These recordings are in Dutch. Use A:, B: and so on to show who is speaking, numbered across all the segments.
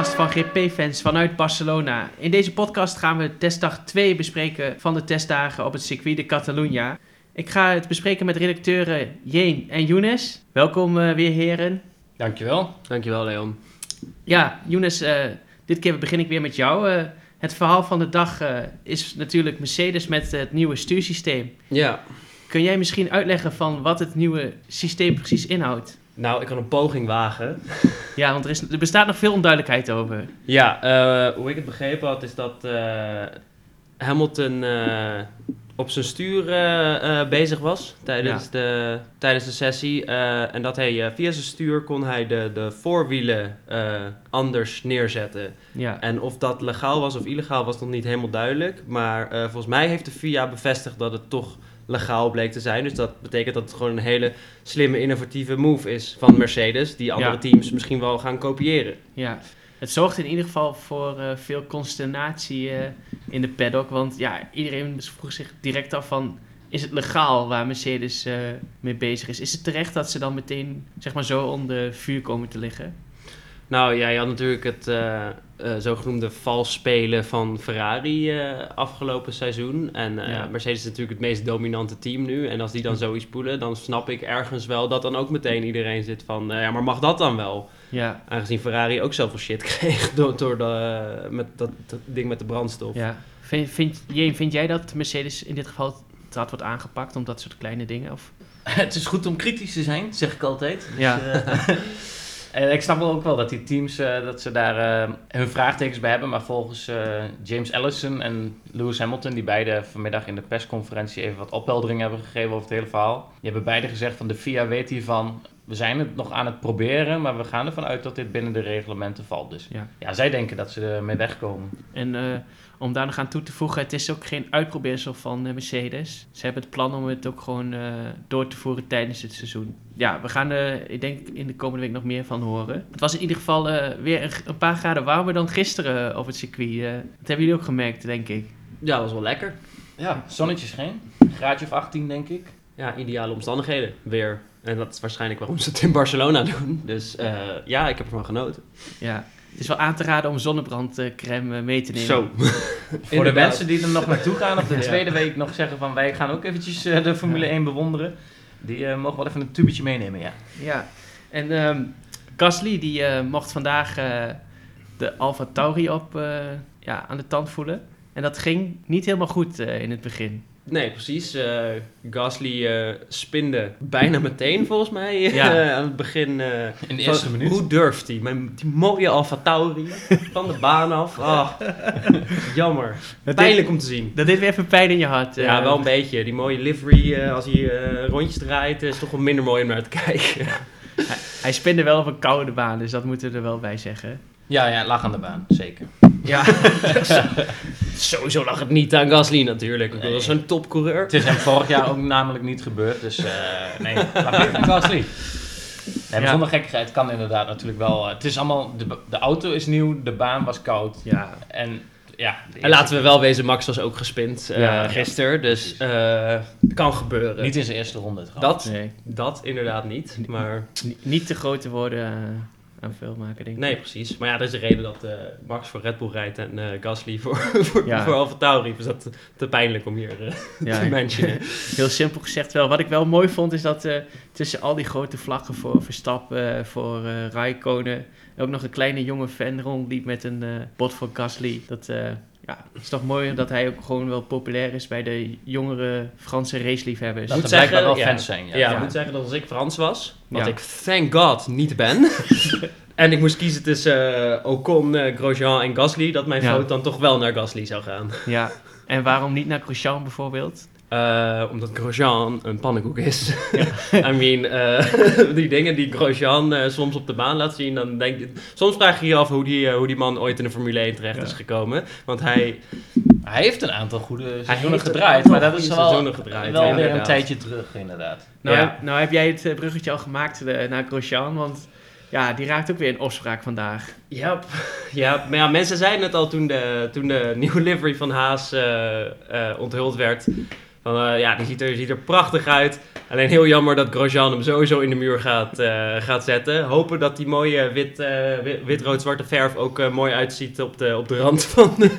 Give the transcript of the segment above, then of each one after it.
A: MotoGP-fans vanuit Barcelona. In deze podcast gaan we testdag 2 bespreken van de testdagen op het circuit de Catalunya. Ik ga het bespreken met redacteuren Jeen en Younes. Welkom eh, weer, heren.
B: Dankjewel.
C: Dankjewel, Leon.
A: Ja, Younes, eh, dit keer begin ik weer met jou. Eh, het verhaal van de dag eh, is natuurlijk Mercedes met het nieuwe stuursysteem.
C: Ja,
A: Kun jij misschien uitleggen van wat het nieuwe systeem precies inhoudt?
C: nou, ik kan een poging wagen.
A: Ja, want er, is, er bestaat nog veel onduidelijkheid over.
C: Ja, eh, hoe ik het begrepen had, is dat eh, Hamilton eh, op zijn stuur eh, eh, bezig was tijdens,
A: Ja.
C: de, tijdens de sessie. eh, en dat hij eh, via zijn stuur kon hij de, de voorwielen eh, anders neerzetten.
A: Ja,
C: En of dat legaal was of illegaal was nog niet helemaal duidelijk. Maar eh, volgens mij heeft de FIA bevestigd dat het toch legaal bleek te zijn. Dus dat betekent dat het gewoon een hele slimme, innovatieve move is van Mercedes. Die andere
A: Ja.
C: teams misschien wel gaan kopiëren.
A: ja. Het zorgt in ieder geval voor eh, veel consternatie eh, in de paddock. Want ja, iedereen vroeg zich direct af van... Is het legaal waar Mercedes eh, mee bezig is? Is het terecht dat ze dan meteen zeg maar, zo onder vuur komen te liggen?
C: Nou ja, je had natuurlijk het eh, eh, zogenoemde vals spelen van Ferrari eh, afgelopen seizoen. En eh,
A: Ja.
C: Mercedes is natuurlijk het meest dominante team nu. En als die dan zoiets poelen, dan snap ik ergens wel dat dan ook meteen iedereen zit van... eh, ja, maar mag dat dan wel?
A: Ja,
C: Aangezien Ferrari ook zoveel shit kreeg door, door de, eh, met dat, dat ding met de brandstof.
A: ja. Vind, vind, Jeen, vind jij dat Mercedes in dit geval te hard wordt aangepakt om dat soort kleine dingen? Of?
B: Het is goed om kritisch te zijn, zeg ik altijd. Dus,
A: Ja.
B: eh, en ik snap wel ook wel dat die teams eh, dat ze daar eh, hun vraagtekens bij hebben. Maar volgens eh, James Allison en Lewis Hamilton, die beide vanmiddag in de persconferentie even wat opheldering hebben gegeven over het hele verhaal. Die hebben beide gezegd van de FIA weet hiervan. We zijn het nog aan het proberen, maar we gaan ervan uit dat dit binnen de reglementen valt. Dus
A: Ja.
B: ja, zij denken dat ze ermee wegkomen.
A: En eh, om daar nog aan toe te voegen, het is ook geen uitprobeersel van eh, Mercedes. Ze hebben het plan om het ook gewoon eh, door te voeren tijdens het seizoen. Ja, we gaan er, ik denk, in de komende week nog meer van horen. Het was in ieder geval eh, weer een, een paar graden warmer dan gisteren op het circuit. eh. dat hebben jullie ook gemerkt, denk ik.
C: Ja, dat was wel lekker.
B: Ja, zonnetje scheen. Graadje of 18, denk ik.
C: Ja, ideale omstandigheden weer. En dat is waarschijnlijk waarom ze het in Barcelona doen. Dus eh, ja, ik heb ervan genoten.
A: Ja. Het is wel aan te raden om zonnebrandcrème eh, mee te nemen.
C: Zo.
B: Voor de
C: Inderdaad.
B: mensen die er nog naartoe gaan of de
C: Ja.
B: tweede week nog zeggen van wij gaan ook eventjes eh, de Formule 1 bewonderen. Die eh, mogen wel even een tubetje meenemen, ja.
A: Ja, en ehm Gasly die eh, mocht vandaag eh, de Alfa Tauri op, eh, ja, aan de tand voelen. En dat ging niet helemaal goed eh, in het begin.
C: Nee, precies. Eh, Gasly eh, spinde bijna meteen volgens mij
A: Ja.
C: eh, aan het begin. eh,
B: In de
C: van,
B: eerste minuut.
C: Hoe durft hij? Mijn, die mooie Alfa Tauri van de baan af. Ah, jammer. Pijnlijk om te zien.
A: Dat deed weer even pijn in je hart.
C: Ja,
A: eh.
C: wel een beetje. Die mooie livery, eh, als hij eh, rondjes draait, is toch wel minder mooi om naar te kijken.
A: Hij spinde wel op een koude baan, dus dat moeten we er wel bij zeggen.
B: Ja, ja, lag aan de baan, zeker.
A: Ja,
C: Sowieso lag het niet aan Gasly natuurlijk. Ik bedoel,
B: Nee.
C: Dat is een topcoureur.
B: Het is hem vorig jaar ook namelijk niet gebeurd, dus eh, nee, laat niet aan Gasly. Nee, maar
A: Ja.
B: zonder gekkigheid kan inderdaad natuurlijk wel. eh, het is allemaal, de, de auto is nieuw, de baan was koud.
A: ja.
B: En ja, de
C: En laten we wel wezen, Max was ook gespind eh,
A: Ja.
C: gisteren. Dus eh, kan gebeuren.
B: Niet in zijn eerste ronde trouwens.
C: dat,
A: Nee,
C: dat inderdaad niet. Maar
A: ni- niet te grote woorden eh, aan filmmaker, denk ik.
C: nee, precies. Maar ja, dat is de reden dat eh, Max voor Red Bull rijdt en eh, Gasly voor, voor,
A: Ja.
C: voor Alfa Tauri. Dus dat te pijnlijk om hier eh,
A: Ja,
C: te mentionen.
A: Heel simpel gezegd wel. Wat ik wel mooi vond is dat eh, tussen al die grote vlaggen voor Verstappen, eh, voor eh Raikkonen... ook nog een kleine jonge fan rondliep met een eh, bot voor Gasly. Dat eh, ja, is toch mooi dat hij ook gewoon wel populair is bij de jongere Franse raceliefhebbers.
B: Dat
C: Moet
B: er blijkbaar
C: zeggen,
B: wel
C: ja.
B: fans zijn, ja.
C: Ja,
A: Ja.
C: ik moet zeggen dat als ik Frans was, wat
A: Ja.
C: ik thank god niet ben, en ik moest kiezen tussen eh, Ocon, eh, Grosjean en Gasly, dat mijn
A: Ja.
C: vote dan toch wel naar Gasly zou gaan.
A: Ja. En waarom niet naar Grosjean bijvoorbeeld?
C: Eh, omdat Grosjean een pannenkoek is. I mean, eh, die dingen die Grosjean eh, soms op de baan laat zien, dan denk je, soms vraag je je af hoe die, eh, hoe die man ooit in de Formule 1 terecht
A: Ja.
C: is gekomen. Want hij,
B: Hij heeft een aantal goede seizoenen
C: heeft een
B: gedraaid,
C: aantal
B: maar dat is
C: goede
B: wel,
C: seizoenen gedraaid,
B: wel
C: ja,
B: weer een
C: inderdaad.
B: tijdje terug, inderdaad.
A: Nou,
C: Ja.
A: nou heb jij het eh, bruggetje al gemaakt eh, naar Grosjean, want ja, die raakt ook weer in opspraak vandaag.
C: ja, ja, maar ja, mensen zeiden het al toen de, toen de nieuwe livery van Haas eh, eh, onthuld werd. Van, eh, ja, die ziet, er, ziet er prachtig uit. Alleen heel jammer dat Grosjean hem sowieso in de muur gaat, eh, gaat zetten. Hopen dat die mooie wit, eh, wit- wit-rood-zwarte verf ook eh, mooi uitziet op de, op de rand van de,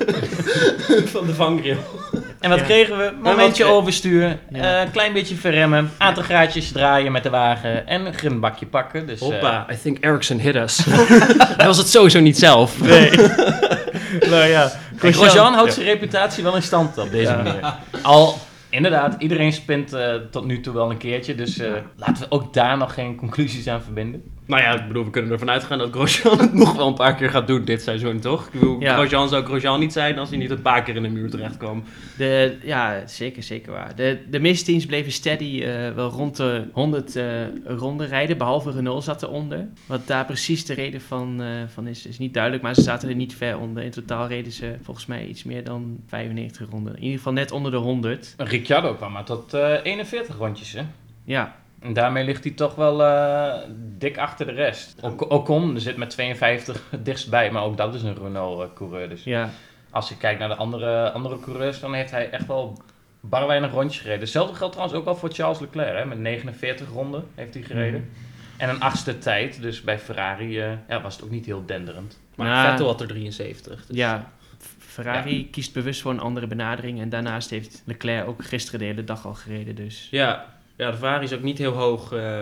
C: van de vangrail.
B: Dus, En wat
A: Ja.
B: kregen we? Momentje
C: kreeg-
B: overstuur,
A: Ja.
B: eh, klein beetje verremmen, aantal graadjes draaien met de wagen en een grindbakje pakken. Dus, eh,
C: I think Ericsson hit us. Hij was het sowieso niet zelf.
B: nee. nou ja, Grosjean,
A: Grosjean
B: houdt zijn reputatie wel in stand op deze manier. Al, inderdaad, iedereen spint eh, tot nu toe wel een keertje. Dus eh, laten we ook daar nog geen conclusies aan verbinden.
C: Nou ja, ik bedoel, we kunnen ervan uitgaan dat Grosjean het nog wel een paar keer gaat doen dit seizoen, toch? Ik bedoel,
A: Ja.
C: Grosjean zou Grosjean niet zijn als hij niet een paar keer in de muur terecht kwam.
A: De, ja, zeker, zeker waar. De, de misteams bleven steady eh, wel rond de 100 eh, ronden rijden, behalve Renault zat eronder. Wat daar precies de reden van, eh, van is, is niet duidelijk, maar ze zaten er niet ver onder. In totaal reden ze volgens mij iets meer dan 95 ronden. In ieder geval net onder de 100.
B: Ricciardo kwam maar tot eh, 41 rondjes, hè?
A: Ja,
B: En daarmee ligt hij toch wel eh, dik achter de rest. Ook Ocon zit met 52 het dichtst bij, maar ook dat is een Renault-coureur. dus
A: ja.
B: als je kijkt naar de andere, andere coureurs, dan heeft hij echt wel bar weinig rondjes gereden. Hetzelfde geldt trouwens ook al voor Charles Leclerc. Hè? Met 49 ronden heeft hij gereden. En een achtste tijd, dus bij Ferrari eh, ja, was het ook niet heel denderend.
C: Maar
A: Nou,
C: Vettel had er 73. dus-
A: Ja, F- Ferrari kiest bewust voor een andere benadering. En daarnaast heeft Leclerc ook gisteren de hele dag al gereden. Dus
C: Ja, ja, de Ferrari is ook niet heel hoog eh,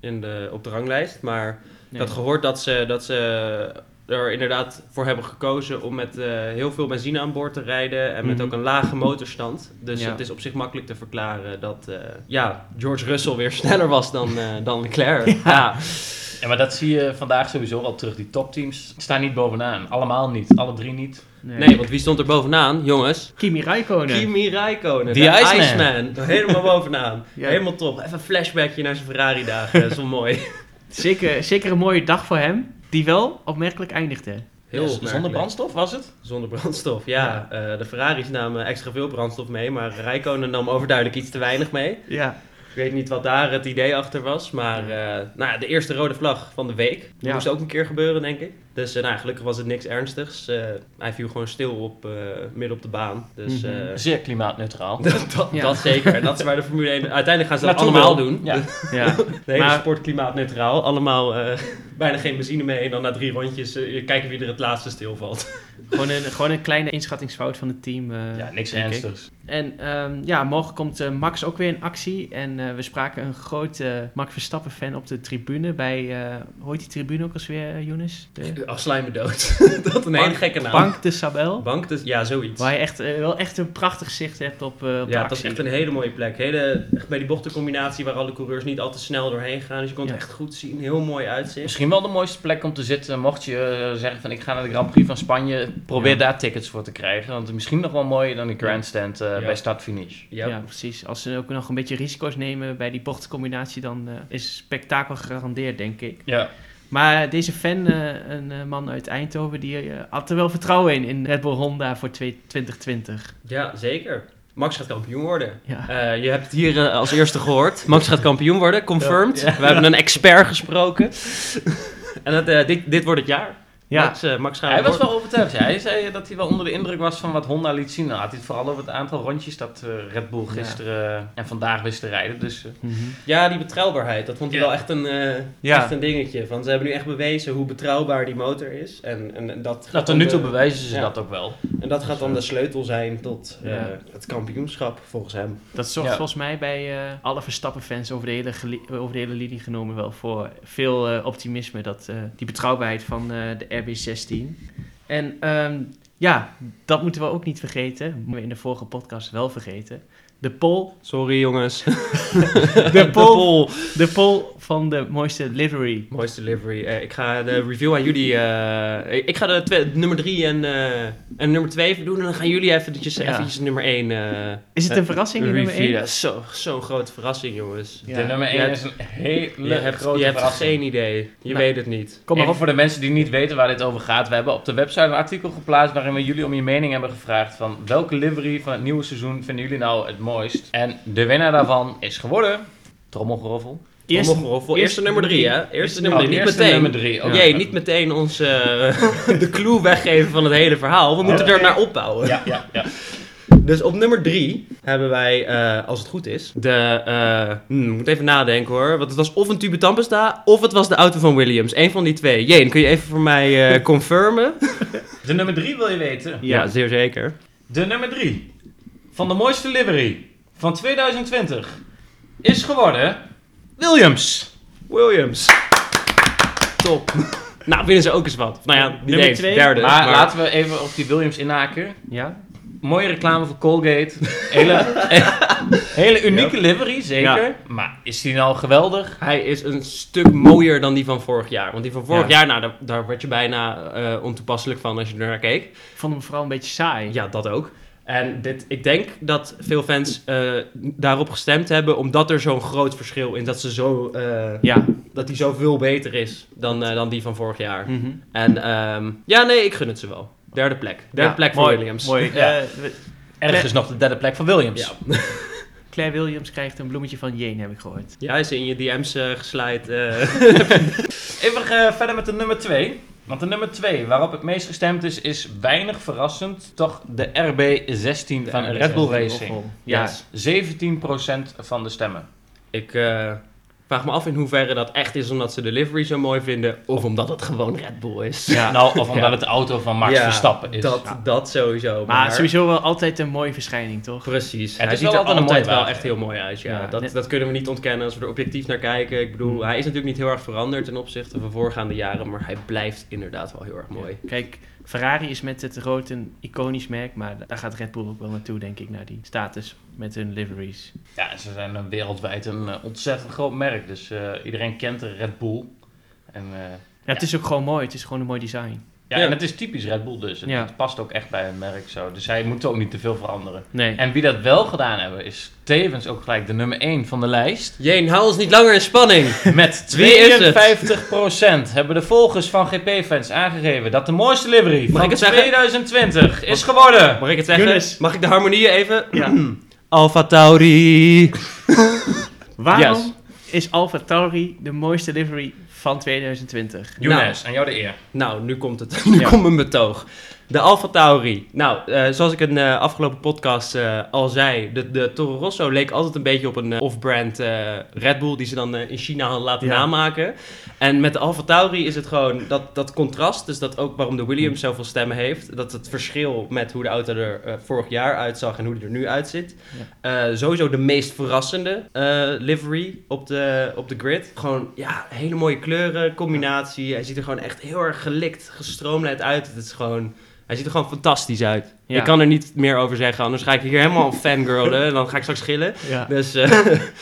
C: in de, op de ranglijst. Maar ik
A: nee.
C: had gehoord dat ze, dat ze er inderdaad voor hebben gekozen om met eh, heel veel benzine aan boord te rijden. En met
A: Mhm.
C: ook een lage motorstand. Dus
A: Ja.
C: het is op zich makkelijk te verklaren dat eh, ja, George Russell weer sneller was dan, eh, dan Leclerc. Ja.
B: Ja, maar dat zie je vandaag sowieso wel terug. Die topteams staan niet bovenaan. Allemaal niet. Alle drie niet.
A: nee.
C: Nee, want wie stond er bovenaan, jongens?
A: Kimi Räikkönen.
C: Kimi Räikkönen,
B: Die
C: de
B: Iceman.
C: Helemaal bovenaan.
A: Ja.
C: Helemaal top. Even een flashbackje naar zijn Ferrari-dagen. Dat is wel mooi.
A: Zeker, zeker een mooie dag voor hem, die wel opmerkelijk eindigde.
B: Ja,
C: opmerkelijk.
B: zonder brandstof was het?
C: Zonder brandstof, ja. Eh, de Ferraris namen extra veel brandstof mee, maar Rijkonen nam overduidelijk iets te weinig mee.
A: Ja,
C: Ik weet niet wat daar het idee achter was, maar eh, nou, ja, de eerste rode vlag van de week. Dat
A: Ja.
C: moest ook een keer gebeuren, denk ik. Dus eh, nou, gelukkig was het niks ernstigs. Eh, hij viel gewoon stil op, eh, midden op de baan. Dus eh,
A: Mhm.
B: Zeer klimaatneutraal.
C: dat, dat,
A: Ja.
C: dat zeker. En dat is waar de Formule 1... Uiteindelijk gaan ze dat
B: Naartoe
C: allemaal
B: wil.
C: doen.
B: Ja.
A: ja.
C: De hele
A: Maar-
C: sport klimaatneutraal. Allemaal eh, bijna geen benzine mee. En dan na drie rondjes eh, kijken wie er het laatste stilvalt.
A: gewoon, een, gewoon een kleine inschattingsfout van het team. eh,
B: ja, niks
A: denk ik.
B: ernstigs.
A: En ehm, ja, morgen komt eh, Max ook weer in actie. En eh, we spraken een grote Max Verstappen-fan op de tribune. Bij, eh, hoe heet die tribune ook als weer, eh, Younes? De
C: Afsluit me dood. dat een hele
A: Bank-
C: gekke naam.
A: Bank de Sabel.
C: Bank, dus ja, zoiets.
A: Waar je echt, eh, wel echt een prachtig zicht hebt op, eh, op de
C: ja, dat is
A: actie.
C: echt een hele mooie plek. Hele, echt bij die bochtencombinatie waar alle coureurs niet al te snel doorheen gaan. Dus je kon het
A: Ja.
C: echt goed zien. Heel mooi uitzicht.
B: Misschien wel de mooiste plek om te zitten, mocht je eh, zeggen van ik ga naar de Grand Prix van Spanje, probeer
A: Ja.
B: daar tickets voor te krijgen. Want het is misschien nog wel mooier dan de grandstand eh,
C: Ja.
B: bij start-finish.
C: Ja.
A: Ja, precies. Als ze ook nog een beetje risico's nemen bij die bochtcombinatie, dan eh, is spektakel gegarandeerd, denk ik.
B: Ja.
A: Maar deze fan, eh, een eh, man uit Eindhoven, die eh, had er wel vertrouwen in, in Red Bull Honda voor twee- 2020.
C: ja, zeker. Max gaat kampioen worden.
A: Ja.
C: Eh, je hebt het hier eh, als eerste gehoord. Max gaat kampioen worden, confirmed. We hebben een expert gesproken. en dat, eh, dit, dit wordt het jaar.
A: Ja.
C: Max, eh, Max gaat
B: Hij was
C: worden.
B: wel overtuigd. ja. Hij zei dat hij wel onder de indruk was van wat Honda liet zien. Dan had hij het vooral over het aantal rondjes dat eh, Red Bull gisteren eh, en vandaag wist te rijden. Dus eh,
C: Ja, die betrouwbaarheid. Dat vond hij
B: Ja.
C: wel echt een, eh,
A: Ja.
C: echt een dingetje. Van, ze hebben nu echt bewezen hoe betrouwbaar die motor is. En, en, en dat
B: nou, tot nu toe
C: de-
B: bewijzen ze
C: ja.
B: dat ook wel.
C: En dat gaat dan de sleutel zijn tot eh,
A: Ja.
C: het kampioenschap, volgens hem.
A: Dat zorgt
B: Ja.
A: volgens mij bij eh, alle Verstappen-fans over, de hele geli- over de hele linie genomen wel voor veel eh, optimisme. Dat, eh, die betrouwbaarheid van eh, de RB16. En ehm, ja, dat moeten we ook niet vergeten. Dat hebben we in de vorige podcast wel vergeten. De poll
C: Sorry jongens.
A: De poll. De poll van de mooiste livery.
C: Mooiste delivery. Eh, ik ga de review aan jullie... eh, ik ga de twe- nummer 3 en, eh, en nummer 2 doen. En dan gaan jullie eventjes,
A: Ja.
C: eventjes nummer 1
A: Is het een verrassing, die nummer
C: review.
A: één?
C: Dat is zo- Zo'n grote verrassing, jongens.
A: Ja.
B: De nummer 1
C: Je
B: is een hele
C: Je hebt,
B: grote
C: je hebt
B: verrassing.
C: geen idee. Je
A: Nou.
C: weet het niet.
A: Kom maar
B: Even
A: op.
B: voor de mensen die niet weten waar dit over gaat. We hebben op de website een artikel geplaatst waarin we jullie om je mening hebben gevraagd van welke livery van het nieuwe seizoen vinden jullie nou het mooist? En de winnaar daarvan is geworden... Trommelgeroffel.
A: Eerst,
C: Trommelgeroffel.
A: eerste
C: Eerste nummer 3,
A: nummer
C: hè? Eerste nummer
B: Oh,
C: 3. Niet
B: eerste
C: meteen.
B: nummer drie.
C: Oh
B: Oké.
C: jee, niet meteen ons eh, de clue weggeven van het hele verhaal. We moeten er naar opbouwen.
B: Ja, ja, ja.
C: Dus op nummer drie hebben wij, eh, als het goed is, de... eh, hmm, moet even nadenken hoor. Want het was of een Tube Tampesta, of het was de auto van Williams. Eén van die twee. Jane, kun je even voor mij eh, confirmen?
B: De nummer drie wil je weten?
C: Ja, zeer zeker.
B: De nummer 3 van de mooiste livery van 2020 is geworden Williams.
C: Williams. Top. Nou, winnen ze ook eens wat. Nou ja, die
A: Nummer
C: deed
A: twee.
C: derde.
B: maar, laten we even op die Williams inhaken.
A: Ja?
B: Mooie reclame voor Colgate. Hele, hele unieke livery, zeker.
C: Ja.
B: Maar is die nou geweldig?
C: Hij is een stuk mooier dan die van vorig jaar. Want die van
A: Ja.
C: vorig jaar, nou, daar, daar werd je bijna eh, ontoepasselijk van als je er naar keek.
A: Ik vond hem vooral een beetje saai.
C: Ja, dat ook. En dit, ik denk dat veel fans eh, daarop gestemd hebben, omdat er zo'n groot verschil in dat ze zo, eh,
A: Ja.
C: dat die zoveel beter is dan, eh, dan die van vorig jaar.
A: Mhm.
C: En ehm, ja, nee, ik gun het ze wel. Derde plek. Derde
A: Ja,
C: plek voor
A: mooi,
C: Williams.
A: Mooi.
B: Ja.
A: Eh, we-
B: Ergens nog de derde plek van Williams.
C: Ja.
A: Claire Williams krijgt een bloemetje van Jane, heb ik gehoord.
C: Ja, hij is in je DM's eh geslijt. eh.
B: Even eh, verder met de nummer 2. Want de nummer 2 waarop het meest gestemd is, is weinig verrassend. Toch de RB16 van
C: RB16
B: Red Bull
A: Roggel.
B: Racing.
A: Ja.
C: Yes.
B: 17% van de stemmen.
C: Ik eh, vraag me af in hoeverre dat echt is omdat ze de livery zo mooi vinden. Of omdat het gewoon Red Bull is.
A: Ja.
B: Nou, of omdat
C: Ja.
B: het de auto van Max
C: Ja,
B: Verstappen is.
C: Dat,
A: Ja.
C: dat sowieso.
A: Maar sowieso wel altijd een mooie verschijning, toch?
C: Precies.
B: Het
C: hij
B: is
C: ziet
B: wel
C: er
B: altijd een
C: altijd
B: mooie
C: wel
B: wagen.
C: echt heel mooi uit. Ja. Mm.
A: Ja,
C: dat,
A: net-
C: dat kunnen we niet ontkennen als we er objectief naar kijken. Ik bedoel, hij is natuurlijk niet heel erg veranderd ten opzichte van voorgaande jaren. Maar hij blijft inderdaad wel heel erg mooi.
A: Kijk, Ferrari is met het rood een iconisch merk, maar daar gaat Red Bull ook wel naartoe, denk ik, naar die status met hun liveries.
B: Ja, ze zijn eh, wereldwijd een eh, ontzettend groot merk. Dus eh, iedereen kent de Red Bull. En, eh,
A: Ja, het is ook gewoon mooi, het is gewoon een mooi design.
B: ja,
C: Ja.
B: en het is typisch Red Bull dus. Het,
A: Ja.
B: het past ook echt bij het merk zo. Dus zij moeten ook niet te veel veranderen.
A: Nee.
B: En wie dat wel gedaan hebben, is tevens ook gelijk de nummer 1 van de lijst.
C: Jeen, hou ons niet langer in spanning.
B: Met
C: Wie is het?
B: 52% hebben de volgers van GP-fans aangegeven dat de mooiste livery
C: Mag ik
B: van
C: het zeggen?
B: 2020 is geworden.
C: Mag ik het zeggen?
A: Younes.
C: Mag ik de harmonieën even?
A: Ja.
C: Alfa Tauri.
A: Waarom is Alfa Tauri de mooiste livery van 2020?
B: Younes, aan jou de eer.
C: Nou, nu komt het. Nu komt mijn betoog. De Alfa Tauri. Nou, eh, zoals ik in de afgelopen podcast eh, al zei, de, de Toro Rosso leek altijd een beetje op een eh, off-brand eh, Red Bull die ze dan eh, in China hadden laten
A: Ja.
C: namaken. En met de Alfa Tauri is het gewoon dat, dat contrast, dus dat ook waarom de Williams zoveel stemmen heeft, dat het verschil met hoe de auto er eh, vorig jaar uitzag en hoe die er nu uitziet. Eh, sowieso de meest verrassende eh, livery op de, op de grid. Gewoon, ja, hele mooie kleuren, combinatie. Hij ziet er gewoon echt heel erg gelikt, gestroomlijnd uit. Het is gewoon, hij ziet er gewoon fantastisch uit.
A: Ja.
C: Ik kan er niet meer over zeggen, anders ga ik hier helemaal fangirlen en dan ga ik straks gillen.
A: Ja.
C: Dus eh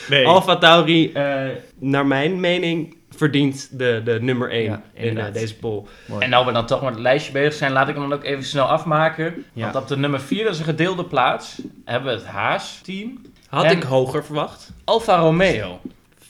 A: Nee.
C: Alfa Tauri, eh, naar mijn mening, verdient de, de nummer 1
A: Ja,
C: in eh,
A: inderdaad.
C: deze poll.
A: Mooi.
B: En nou we dan toch met het lijstje bezig zijn, laat ik hem dan ook even snel afmaken.
A: Ja.
B: Want op de nummer 4, dat is een gedeelde plaats, hebben we het Haas-team.
C: Had
B: En-
C: ik hoger verwacht.
B: Alfa Romeo.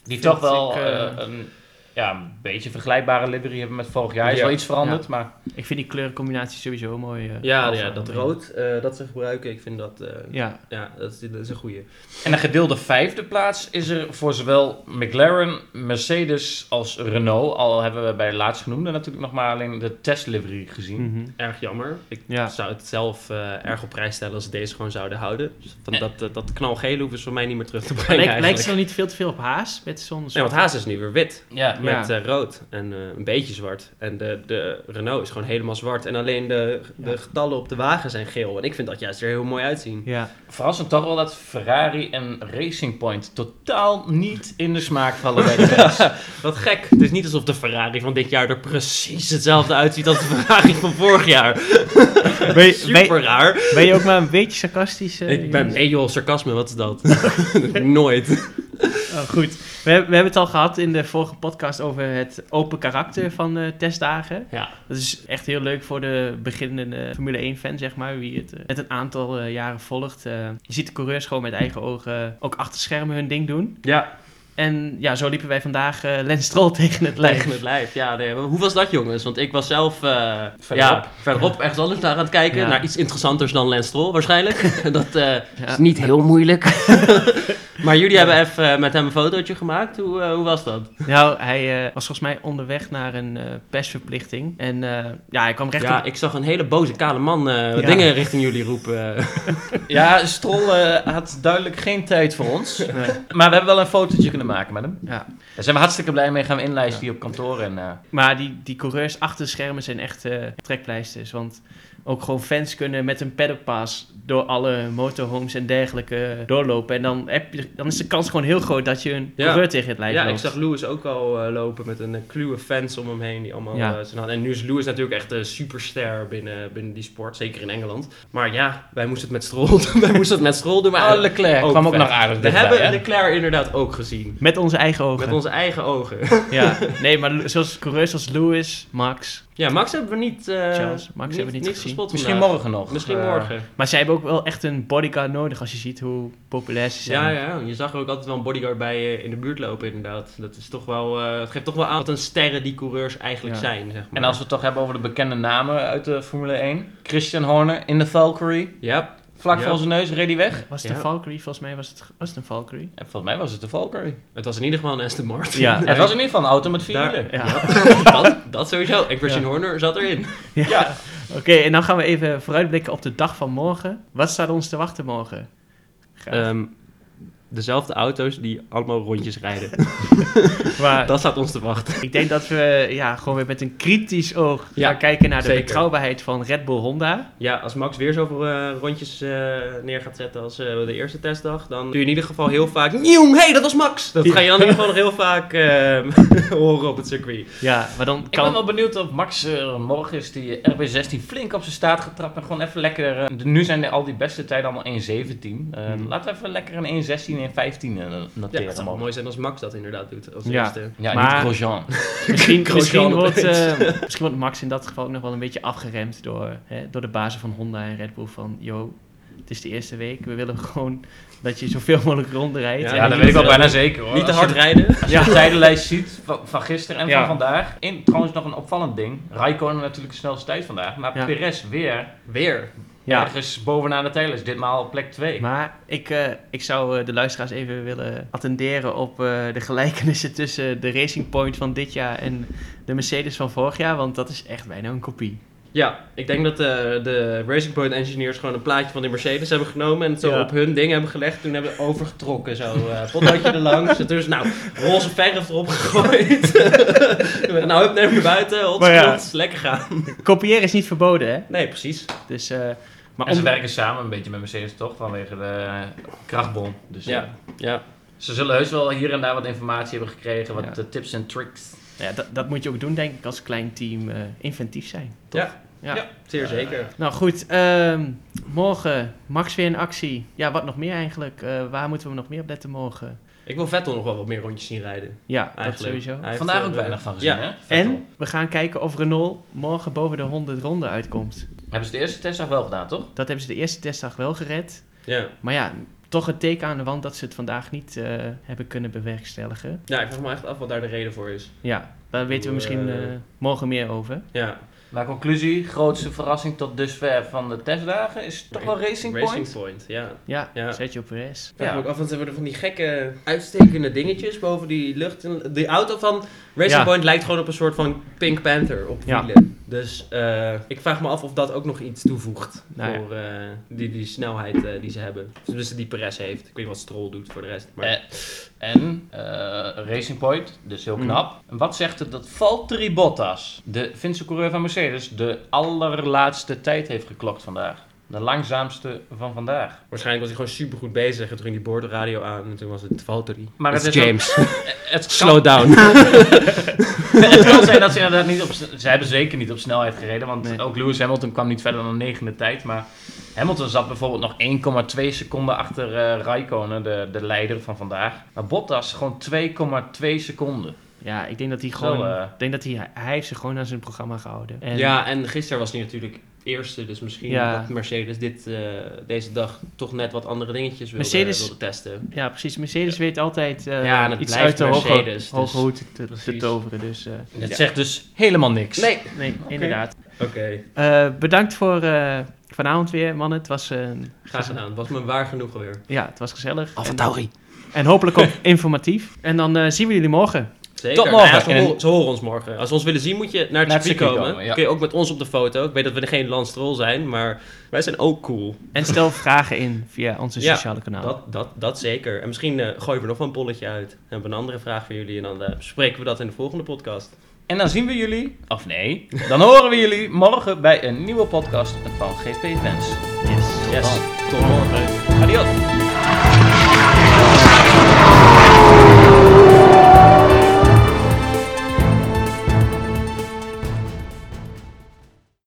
B: Die toch wel
A: ik,
B: eh,
A: eh,
B: een, ja, een beetje vergelijkbare livery hebben met vorig jaar. Is
C: Ja.
B: wel iets veranderd, maar
A: Ik vind die kleurencombinatie sowieso mooi. eh,
C: Ja,
A: Alfa
C: ja dat
A: Romeo.
C: rood eh, dat ze gebruiken, ik vind dat, eh,
A: Ja,
C: ja, dat, is, dat is een goede.
B: En een gedeelde vijfde plaats is er voor zowel McLaren, Mercedes als Renault. Al hebben we bij de laatst genoemde natuurlijk nog maar alleen de testlivery gezien.
A: Mhm.
C: Erg jammer. Ik
A: Ja.
C: zou het zelf eh, erg op prijs stellen als ze deze gewoon zouden houden. Dus Van
B: Eh.
C: dat, dat, dat knalgele hoeven ze voor mij niet meer terug te brengen
A: Lijkt, lijkt
C: eigenlijk.
A: ze nog niet veel te veel op Haas met zo'n...
C: Nee, want Haas is nu weer wit
B: Ja,
A: Ja.
C: met eh, rood en eh, een beetje zwart. En de, de Renault is gewoon helemaal zwart. En alleen de, de
A: Ja.
C: getallen op de wagen zijn geel. En ik vind dat juist er heel mooi uitzien.
A: Ja.
B: verrassend toch wel dat Ferrari en Racing Point totaal niet in de smaak vallen bij de fans.
C: Wat gek. Het is niet alsof de Ferrari van dit jaar er precies hetzelfde uitziet als de Ferrari van vorig jaar.
A: Ben je,
C: Super raar.
A: ben je ook maar een beetje sarcastisch? eh,
C: Ik ben,
A: Jonas?
C: nee joh, sarcasme, wat is dat? Nooit.
A: Oh, goed. We, hebben- we hebben het al gehad in de vorige podcast over het open karakter van eh, testdagen.
C: Ja.
A: Dat is echt heel leuk voor de beginnende Formule 1-fan, zeg maar, wie het eh, net een aantal eh, jaren volgt. Eh, je ziet de coureurs gewoon met eigen ogen eh, ook achter schermen hun ding doen.
C: Ja,
A: En ja, zo liepen wij vandaag eh Lens Stroll tegen het lijf.
C: tegen het lijf. Ja, nee, maar hoe was dat jongens? Want ik was zelf eh,
B: Verderop.
C: ja, verderop ergens anders naar aan het kijken.
A: Ja.
C: Naar iets interessanters dan Lens Stroll waarschijnlijk. dat eh,
A: Ja.
C: is niet heel moeilijk. Maar jullie hebben even eh, met hem een fotootje gemaakt. Hoe, eh, hoe was dat?
A: Nou, hij eh, was volgens mij onderweg naar een eh, persverplichting. En eh, ja, hij kwam recht
C: Ja,
A: op...
C: ik zag een hele boze kale man eh,
A: Ja.
C: dingen richting jullie roepen.
B: Ja, Strol eh, had duidelijk geen tijd voor ons.
A: Nee.
B: Maar we hebben wel een fotootje kunnen maken met hem.
A: Ja.
B: Daar zijn we hartstikke blij mee. Gaan we inlijsten hier op kantoor. En, eh,
A: Maar die, die coureurs achter de schermen zijn echt eh, trekpleisters. Want ook gewoon fans kunnen met een pedalpaas door alle motorhomes en dergelijke doorlopen. En dan, heb je, dan is de kans gewoon heel groot dat je een
C: Ja.
A: coureur tegen het lijf
C: Ja, ik
A: loopt.
C: zag Lewis ook al eh, lopen met een eh, kluwe fans om hem heen. Die allemaal,
A: Ja.
C: eh, zijn hand- en nu is Lewis natuurlijk echt een superster binnen, binnen die sport, zeker in Engeland. Maar ja, wij moesten het met Stroll doen. wij moesten het met Stroll doen. Maar
B: oh, Leclerc
C: ook
B: kwam ook
C: vet.
B: nog aardig
C: we
B: dichtbij,
C: hebben
B: hè?
C: Leclerc inderdaad ook gezien.
A: Met onze eigen ogen.
C: Met onze eigen ogen.
A: Ja, nee, maar lo- zoals coureurs als Lewis, Max.
C: Ja, Max hebben we niet, eh,
A: Charles, Max hebben we niet gezien.
C: gespot
B: Misschien
C: vandaag.
B: morgen nog.
C: Misschien
B: Eh,
C: morgen.
A: Maar zij hebben ook wel echt een bodyguard nodig als je ziet hoe populair ze zijn.
C: Ja, ja, je zag er ook altijd wel een bodyguard bij eh, in de buurt lopen inderdaad. Dat is toch wel, eh, het geeft toch wel aan wat een sterren die coureurs eigenlijk
A: Ja.
C: zijn, zeg maar.
B: En als we het toch hebben over de bekende namen uit de Formule 1. Christian Horner in de Valkyrie.
C: Ja,
B: Vlak
C: Ja.
B: voor zijn neus reed hij weg.
A: Was het een
C: Ja.
A: Valkyrie? Volgens mij was het, was het een Valkyrie.
B: En volgens mij was het de Valkyrie.
C: het was in ieder geval een Aston Martin.
A: Ja.
B: Het was in ieder geval een auto met vier
C: Daar-
B: wielen.
A: Ja.
C: dat, dat sowieso. En Christian
A: Ja.
C: Horner zat erin.
A: Ja.
B: Ja.
A: Oké, en dan gaan we even vooruitblikken op de dag van morgen. Wat staat ons te wachten morgen? Graag.
C: Ehm, dezelfde auto's die allemaal rondjes rijden.
A: maar
C: Dat staat ons te wachten.
A: ik denk dat we ja, gewoon weer met een kritisch oog
C: Ja,
A: gaan kijken naar de
C: zeker.
A: betrouwbaarheid van Red Bull Honda.
C: Ja, als Max weer zoveel eh, rondjes eh, neer gaat zetten als eh, de eerste testdag, dan doe je in ieder geval heel vaak... Nieuw, hey, dat was Max! Dat ga je dan in ieder geval nog heel vaak eh, horen op het circuit.
A: Ja, maar dan
B: Ik ben
A: kan...
B: wel benieuwd of Max eh, morgen is die RB16 flink op zijn staart getrapt. En gewoon even lekker... eh, de- nu zijn de- al die beste tijden allemaal 1.17. Eh,
A: Hmm.
B: Laten we even lekker een 1.16 en 15
C: Ja,
B: noteren.
C: het zou wel
B: morgen.
C: mooi zijn als Max dat inderdaad doet als
A: Ja.
C: eerste.
B: Ja,
A: Maar-
B: niet Grosjean.
A: misschien,
C: Grosjean
A: misschien, wordt,
C: opeens.
A: eh, misschien wordt Max in dat geval ook nog wel een beetje afgeremd door, hè, door de bazen van Honda en Red Bull. Van, yo, het is de eerste week. We willen gewoon dat je zoveel mogelijk rondrijdt.
C: Ja,
A: En
B: Ja, dat
A: niet-
B: weet ik wel
C: eh,
B: bijna zeker hoor.
C: Niet te
B: Als
C: hard
B: je-
C: rijden.
B: Als je de tijdenlijst ziet van, van gisteren en
A: Ja.
B: van vandaag. In, trouwens nog een opvallend ding. Raikkonen natuurlijk de snelste tijd vandaag. Maar
A: Ja.
B: Perez weer
C: Weer.
A: Ja.
B: ergens bovenaan de tijdenlijst. Ditmaal op plek 2.
A: Maar ik, eh, ik zou eh, de luisteraars even willen attenderen op eh, de gelijkenissen tussen de Racing Point van dit jaar en de Mercedes van vorig jaar, want dat is echt bijna een kopie.
C: Ja, ik denk dat eh, de Racing Point engineers gewoon een plaatje van die Mercedes hebben genomen en het zo
A: Ja.
C: op hun ding hebben gelegd. Toen hebben we overgetrokken, zo eh potloodje erlangs. En toen is nou roze verf erop gegooid. nou, hup, neem naar buiten, hot
A: Maar ja.
C: spots, lekker gaan.
A: Kopiëren is niet verboden, hè?
C: Nee, precies.
A: Dus, eh, maar
B: en ze
A: om-
B: werken samen een beetje met Mercedes toch? Vanwege de krachtbom. Dus eh,
C: Ja, ja.
B: ze zullen heus wel hier en daar wat informatie hebben gekregen. Wat
A: Ja.
B: eh, tips en tricks.
A: ja, dat, dat moet je ook doen, denk ik, als klein team eh, inventief zijn.
C: Ja.
A: Ja.
C: zeer zeker.
A: Nou goed, ehm, morgen Max weer in actie. Ja, wat nog meer eigenlijk? Eh, waar moeten we nog meer op letten morgen?
C: Ik wil Vettel nog wel wat meer rondjes zien rijden.
A: Ja, dat
C: Eigenlijk.
A: sowieso.
C: Hij heeft,
B: Vandaag
C: eh,
B: ook weinig van gezien
C: ja.
B: hè?
A: En we gaan kijken of Renault morgen boven de 100 ronden uitkomt.
B: Hebben ze de eerste testdag wel gedaan toch?
A: Dat hebben ze de eerste testdag wel gered.
C: Ja.
A: Maar ja, toch een teken aan de wand dat ze het vandaag niet eh, hebben kunnen bewerkstelligen.
C: ja, ik vraag me echt af wat daar de reden voor is.
A: Ja, daar weten we
C: Hoe,
A: misschien
C: eh,
A: eh, morgen meer over.
C: Ja,
B: Maar conclusie, grootste verrassing tot dusver van de testdagen is toch wel Racing Point.
C: Racing Point, ja.
A: Ja,
C: Ja.
A: Sergio Perez.
C: Ik vraag me
B: Ja.
C: ook af, want ze hebben er van die gekke uitstekende dingetjes boven die lucht. En Die auto van Racing
A: Ja.
C: Point lijkt gewoon op een soort van Pink Panther op
A: Ja.
C: wielen. Dus eh, ik vraag me af of dat ook nog iets toevoegt
A: Nou ja.
C: voor eh, die, die snelheid eh, die ze hebben. Dus die Perez heeft. Ik weet niet wat Stroll doet voor de rest. Maar...
B: Eh, En eh, Racing Point, dus heel
A: Mm.
B: knap. En wat zegt het dat Valtteri Bottas, de Finse coureur van Mercedes, de allerlaatste tijd heeft geklokt vandaag? De langzaamste van vandaag.
C: Waarschijnlijk was hij gewoon super goed bezig. En toen ging die boordradio aan en toen was het Valtteri.
B: Maar het
C: It's
B: is ook-
C: James.
B: Het kan,
C: Slow down.
B: het kan zijn dat ze inderdaad niet op... Ze hebben zeker niet op snelheid gereden, want
A: Nee.
B: ook Lewis Hamilton kwam niet verder dan de negende tijd. Maar Hamilton zat bijvoorbeeld nog 1,2 seconden achter eh, Raikkonen, de, de leider van vandaag. Maar Bottas gewoon 2,2 seconden.
A: Ja, ik denk dat hij
B: Zo,
A: gewoon...
B: eh.
A: ik denk dat hij, hij heeft zich gewoon aan zijn programma gehouden. En,
C: Ja, en gisteren was hij natuurlijk eerste. Dus misschien
A: Ja.
C: dat Mercedes dit, eh, deze dag toch net wat andere dingetjes wilde,
A: Mercedes-
C: wilde testen.
A: ja, precies. Mercedes weet altijd eh,
C: Ja, en het
A: iets
C: blijft
A: uit de hoge,
C: Mercedes, dus-
A: hoge hoed te- te,
C: Precies.
A: toveren. Dus eh,
B: Dat
C: Ja.
B: zegt dus helemaal niks.
C: Nee.
A: nee, inderdaad.
C: Oké.
A: Eh, bedankt voor eh, vanavond weer, mannen. Het was, eh, een
C: Graag gedaan. Was me waar genoeg weer.
A: ja, het was gezellig.
C: Tauri.
A: En hopelijk ook informatief. En dan eh, zien we jullie morgen.
C: Zeker.
B: Tot morgen.
C: Nou ja, ze,
B: En een-
C: horen, ze horen ons morgen. Als ze ons willen zien, moet je naar het
B: Naar het
C: circuit
B: circuit
C: komen.
B: komen, ja.
C: Kun je ook met ons op de foto. Ik weet dat we geen landstrol zijn, maar wij zijn ook cool.
A: En stel vragen in via onze
C: Ja,
A: sociale kanalen.
C: Nou. Dat, dat, dat zeker. En misschien eh, gooien we nog wel een polletje uit. Dan hebben we een andere vraag voor jullie en dan eh, bespreken we dat in de volgende podcast.
B: En dan zien we jullie, of nee, dan horen we jullie morgen bij een nieuwe podcast van GP Events.
A: Yes.
C: Yes,
B: dan.
C: tot morgen.
B: Adios!